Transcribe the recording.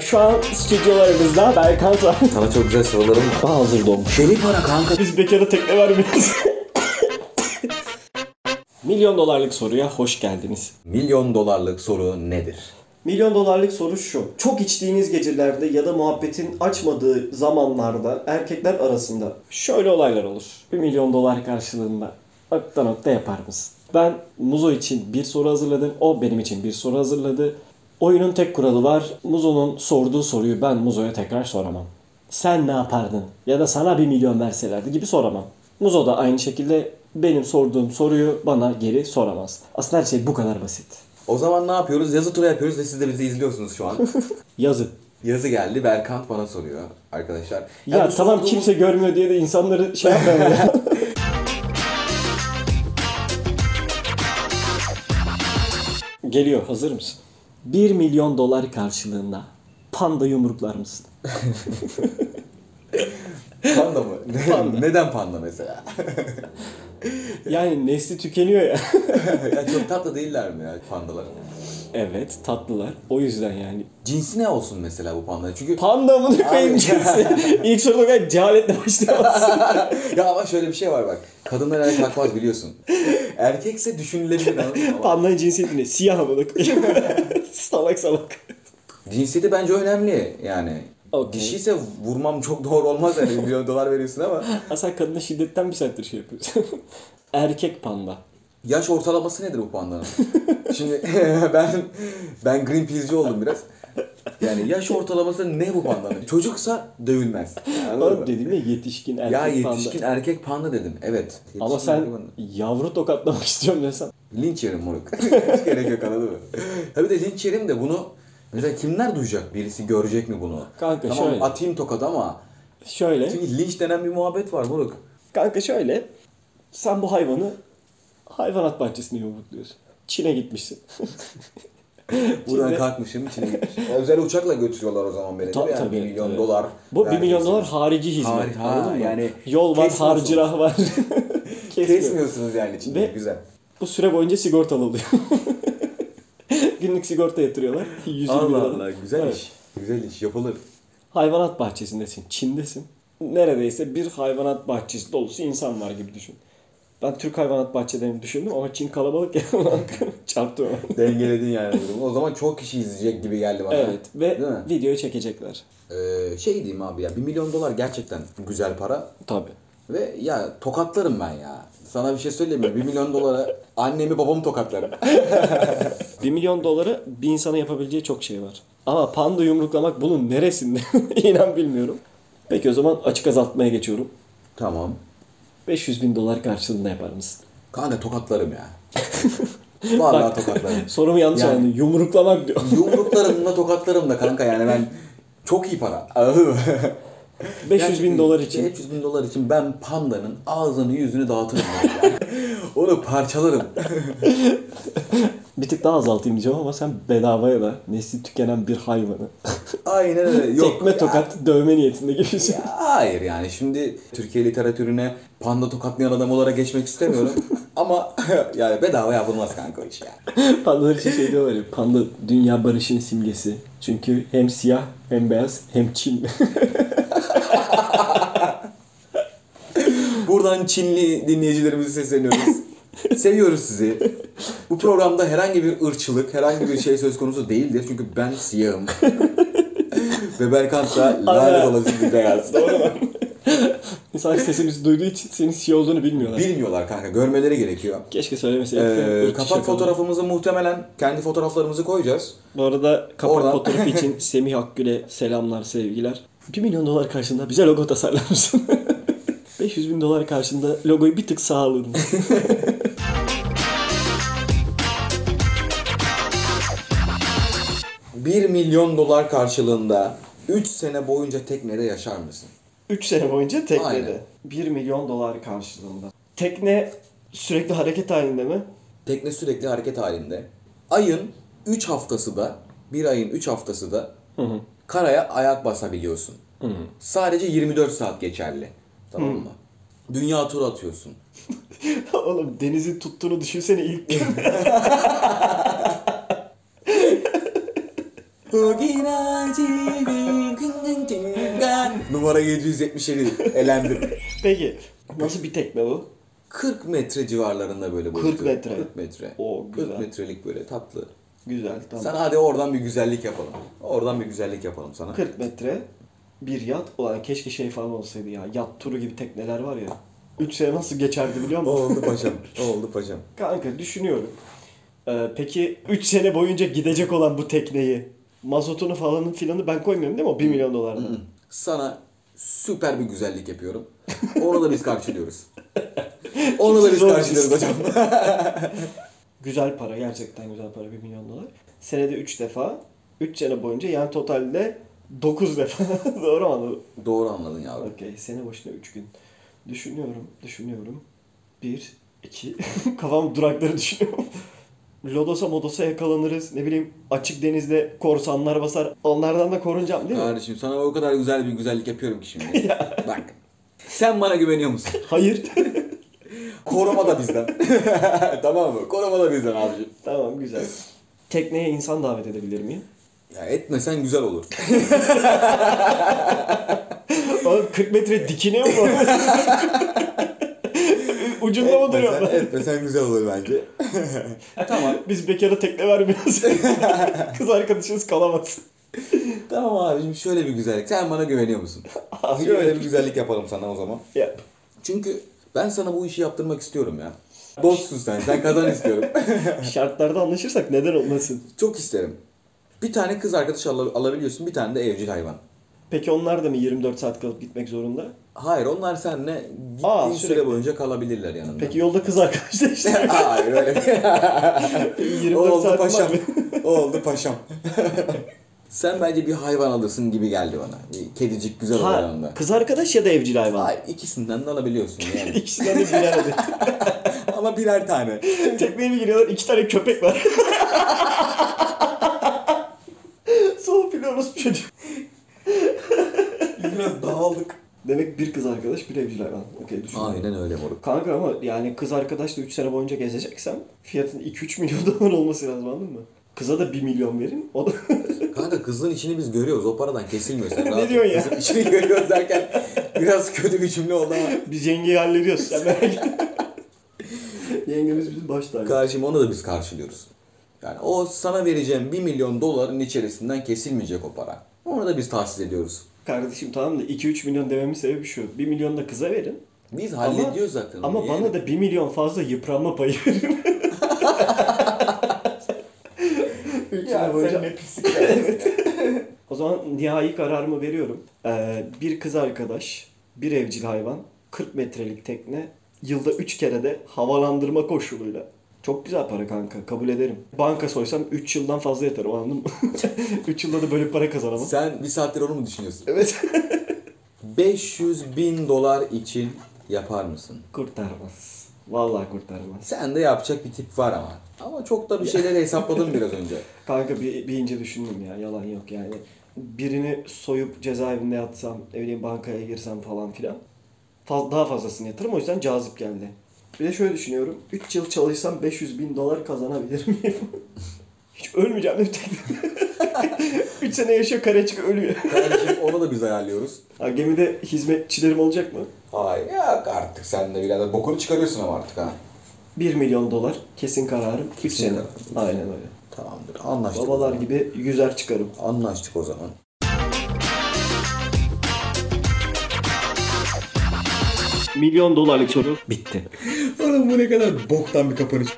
Şu an stüdyolarımızda Berkan var. Sana çok güzel sorularım var. Daha hazır doğmuş. Deli para kanka. Biz bekara tekne vermiyoruz. Milyon dolarlık soruya hoş geldiniz. Milyon dolarlık soru nedir? Milyon dolarlık soru şu. Çok içtiğiniz gecelerde ya da muhabbetin açmadığı zamanlarda erkekler arasında şöyle olaylar olur. Bir milyon dolar karşılığında nokta nokta yapar mısın? Ben Muzo için bir soru hazırladım. O benim için bir soru hazırladı. Oyunun tek kuralı var. Muzo'nun sorduğu soruyu ben Muzo'ya tekrar soramam. Sen ne yapardın? Ya da sana bir milyon verselerdi gibi soramam. Muzo da aynı şekilde benim sorduğum soruyu bana geri soramaz. Aslında her şey bu kadar basit. O zaman ne yapıyoruz? Yazı turu yapıyoruz ve siz de bizi izliyorsunuz şu an. Yazın. Yazı geldi. Berkant bana soruyor arkadaşlar. Ya, bu tamam sorduğumuz- kimse görmüyor diye de insanları şey yapmayalım ya. Geliyor hazır mısın? 1 milyon dolar karşılığında panda yumruklar mısın? Panda mı? Ne- Neden panda mesela? Yani nesli tükeniyor ya. ya çok tatlı değiller mi ya pandalar? evet tatlılar o yüzden yani. Cinsi ne olsun mesela bu pandanın? Çünkü Panda mı koyayım cinsi? İlk soruda kadar cehaletle başlayamazsın. ya ama şöyle bir şey var bak. Kadınlar erkek bakmaz biliyorsun. Erkekse düşünülebilir anladın mı? Pandanın cinsiyeti ne? Siyah mı? salak salak. Cinsiyeti bence önemli yani. Okey. Dişiyse vurmam çok doğru olmaz yani. Milyon dolar veriyorsun ama. Aslında kadına şiddetten bir saattir şey yapıyorsun. Erkek panda. Yaş ortalaması nedir bu pandanın? Şimdi ben ben Greenpeace'ci oldum biraz. Yani yaş ortalaması ne bu pandanın? Çocuksa dövülmez. Anladın Oğlum mı? dedim ya yetişkin erkek Ya panda. yetişkin erkek panda dedim. Evet. Ama Yetişkin sen erkek panda. yavru tokatlamak istiyorum desem. Linç yerim moruk. Hiç gerek yok anladın mı? Ha bir de linç yerim de bunu... Mesela kimler duyacak? Birisi görecek mi bunu? Kanka tamam, şöyle. atayım tokat ama... Şöyle. Çünkü linç denen bir muhabbet var moruk. Kanka şöyle. Sen bu hayvanı hayvanat bahçesinde yumurtluyorsun. Çin'e gitmişsin. Buradan Şimdi- kalkmışım içine gitmişim. Özel uçakla götürüyorlar o zaman beni. Ta- değil mi? yani tabii, 1 milyon tabii. dolar. Bu 1 milyon vergisi. dolar harici hizmet. Hari- ha, anladın mı? yani Yol var, kesmiyorsun. harcırah var. Kesmiyor. Kesmiyorsunuz yani içinde. Ve- Güzel. Bu süre boyunca sigortalı oluyor. Günlük sigorta yatırıyorlar. 120 lira. Güzel Evet. iş. Güzel iş. Yapılır. Hayvanat bahçesindesin, Çin'desin. Neredeyse bir hayvanat bahçesi dolusu insan var gibi düşün. Ben Türk hayvanat bahçelerini düşündüm ama Çin kalabalık ya. Çarptı bana. Dengeledin yani durumu. O zaman çok kişi izleyecek gibi geldi bana. Evet ve Değil mi? videoyu çekecekler. Ee, şey diyeyim abi ya 1 milyon dolar gerçekten güzel para. Tabii. Ve ya tokatlarım ben ya. Sana bir şey söyleyeyim mi? 1 milyon dolara annemi babamı tokatlarım. 1 milyon dolara bir insana yapabileceği çok şey var. Ama panda yumruklamak bunun neresinde? İnan bilmiyorum. Peki o zaman açık azaltmaya geçiyorum. tamam. 500 bin dolar karşılığında yapar mısın? Kanka tokatlarım ya. Vallahi tokatlarım. Sorumu yanlış Yani- anladın. Yumruklamak diyor. Yumruklarımla tokatlarımla kanka yani ben çok iyi para. Anladın mı? 500 bin dolar için. 500 bin dolar için ben pandanın ağzını yüzünü dağıtırım. yani. Onu parçalarım. Bir tık daha azaltayım diyeceğim ama sen bedavaya da nesli tükenen bir hayvanı. Aynen öyle. Yok. Tekme tokat dövme niyetinde şey. gibisin. Ya, Hayır yani şimdi Türkiye literatürüne panda tokatlayan adam olarak geçmek istemiyorum. Ama yani bedava yapılmaz kanka o iş ya. Pandalar için şey diyorlar ya panda dünya barışının simgesi. Çünkü hem siyah hem beyaz hem Çin. Buradan Çinli dinleyicilerimizi sesleniyoruz. Seviyoruz sizi. Bu programda herhangi bir ırkçılık, herhangi bir şey söz konusu değildir. Çünkü ben siyahım. Ve Berkant da lanet olası bir beyaz. İnsan sesimizi duyduğu için senin siyah olduğunu bilmiyorlar. Bilmiyorlar kanka. Görmeleri gerekiyor. Keşke söylemeseydik. Ee, Irkçı kapak şakalı. fotoğrafımızı muhtemelen kendi fotoğraflarımızı koyacağız. Bu arada kapak Oradan- fotoğrafı için Semih Akgül'e selamlar sevgiler. 1 milyon dolar karşında bize logo tasarlar mısın? 500 bin dolar karşında logoyu bir tık sağa alırım. Bir milyon dolar karşılığında 3 sene boyunca teknede yaşar mısın? 3 sene boyunca teknede. Aynen. 1 milyon dolar karşılığında. Tekne sürekli hareket halinde mi? Tekne sürekli hareket halinde. Ayın 3 haftası da, bir ayın 3 haftası da karaya ayak basabiliyorsun. Sadece 24 saat geçerli. Tamam mı? Dünya turu atıyorsun. Oğlum denizi tuttuğunu düşünsene ilk gün. Bugün acibim gündün günden. Numara 777 elendim. Peki. Nasıl bir tekme bu? 40 metre civarlarında böyle boyutu. 40 metre. 40 metre. Oo, güzel. 40 metrelik böyle tatlı. Güzel tamam. Sana hadi oradan bir güzellik yapalım. Oradan bir güzellik yapalım sana. 40 metre bir yat. Ulan keşke şey falan olsaydı ya. Yat turu gibi tekneler var ya. 3 sene nasıl geçerdi biliyor musun? Oldu paşam. Oldu paşam. Kanka düşünüyorum. Ee, peki 3 sene boyunca gidecek olan bu tekneyi mazotunu falanın filanı ben koymuyorum değil mi o 1 milyon dolarda? Sana süper bir güzellik yapıyorum. Onu da biz karşılıyoruz. Onu da biz Kimse karşılıyoruz hocam. güzel para gerçekten güzel para 1 milyon dolar. Senede 3 defa 3 sene boyunca yani totalde 9 defa doğru mu anladım? Doğru anladın yavrum. Okey sene başına 3 gün. Düşünüyorum, düşünüyorum. 1, 2, kafam durakları düşünüyorum. Lodos'a modosa yakalanırız. Ne bileyim açık denizde korsanlar basar. Onlardan da korunacağım değil mi? Kardeşim sana o kadar güzel bir güzellik yapıyorum ki şimdi. Bak. Sen bana güveniyor musun? Hayır. Koruma da bizden. tamam mı? Koruma da bizden abicim. tamam güzel. Tekneye insan davet edebilir miyim? Ya etmesen güzel olur. Oğlum 40 metre dikine mi bu? Ucunda mı etmesen, duruyor? etmesen güzel olur bence. Tamam. Biz bekara tekne vermiyoruz. Kız arkadaşınız kalamaz. Tamam abicim şöyle bir güzellik. Sen bana güveniyor musun? Hayır. Şöyle bir şey. güzellik yapalım sana o zaman. Yap. Çünkü ben sana bu işi yaptırmak istiyorum ya. Dostsun sen. Sen kazan istiyorum. Şartlarda anlaşırsak neden olmasın? Çok isterim. Bir tane kız arkadaş al- alabiliyorsun. Bir tane de evcil hayvan. Peki onlar da mı 24 saat kalıp gitmek zorunda? Hayır onlar seninle gittiğin Aa, sürekli. süre boyunca kalabilirler yanında. Peki yolda kız arkadaşlar işte Hayır öyle bir... 24 oldu saat paşam. var. O oldu paşam. Sen bence bir hayvan alırsın gibi geldi bana. Bir kedicik güzel olur Ha, yanında. kız arkadaş ya da evcil hayvan. Hayır ikisinden de alabiliyorsun yani. İkisinden de birer adet. Ama birer tane. Tekneye mi giriyorlar? İki tane köpek var. Soğuk biliyoruz bir çocuk. Biraz dağıldık. Demek bir kız arkadaş bir evcil hayvan. Okey düşün. Aynen öyle moruk. Kanka ama yani kız arkadaşla 3 sene boyunca gezeceksem fiyatın 2-3 milyon dolar olması lazım anladın mı? Kıza da 1 milyon verin. O da Kanka kızın içini biz görüyoruz. O paradan kesilmiyor. Sen rahat ol. diyorsun ya? Kızın içini görüyoruz derken biraz kötü bir cümle oldu ama. biz yengeyi hallediyoruz. Sen merak etme. Yengemiz bizim baş tacı. Karşım onu da biz karşılıyoruz. Yani o sana vereceğim 1 milyon doların içerisinden kesilmeyecek o para. Onu da biz tahsis ediyoruz. Kardeşim tamam da 2-3 milyon dememin sebebi şu. 1 milyon da kıza verin. Biz hallediyoruz zaten. onu, Ama yani. bana da 1 milyon fazla yıpranma payı verin. Üç yıl boyunca- O zaman nihai kararımı veriyorum. Ee, bir kız arkadaş, bir evcil hayvan, 40 metrelik tekne, yılda 3 kere de havalandırma koşuluyla. Çok güzel para kanka, kabul ederim. Banka soysam 3 yıldan fazla yatarım anladın mı? 3 yılda da böyle para kazanamam. Sen bir saattir onu mu düşünüyorsun? Evet. 500 bin dolar için yapar mısın? kurtarmaz. Vallahi kurtarmaz. Sen de yapacak bir tip var ama. Ama çok da bir şeyleri hesapladım biraz önce. Kanka bir, bir ince düşündüm ya yalan yok yani. Birini soyup cezaevinde yatsam, ne bileyim bankaya girsem falan filan. Faz, daha fazlasını yatırım o yüzden cazip geldi. Bir de şöyle düşünüyorum. 3 yıl çalışsam 500 bin dolar kazanabilir miyim? Hiç ölmeyeceğim de bir tek. 3 sene yaşıyor kare çıkıyor ölüyor. Kardeşim onu da biz ayarlıyoruz. Ha, gemide hizmetçilerim olacak mı? Hayır ya artık sen de birader bokunu çıkarıyorsun ama artık ha. 1 milyon dolar kesin kararım. 3 sene. kararım. Aynen öyle. Tamamdır anlaştık. Babalar gibi yüzer çıkarım. Anlaştık o zaman. Milyon dolarlık soru bitti. Oğlum bu ne kadar boktan bir kapanış.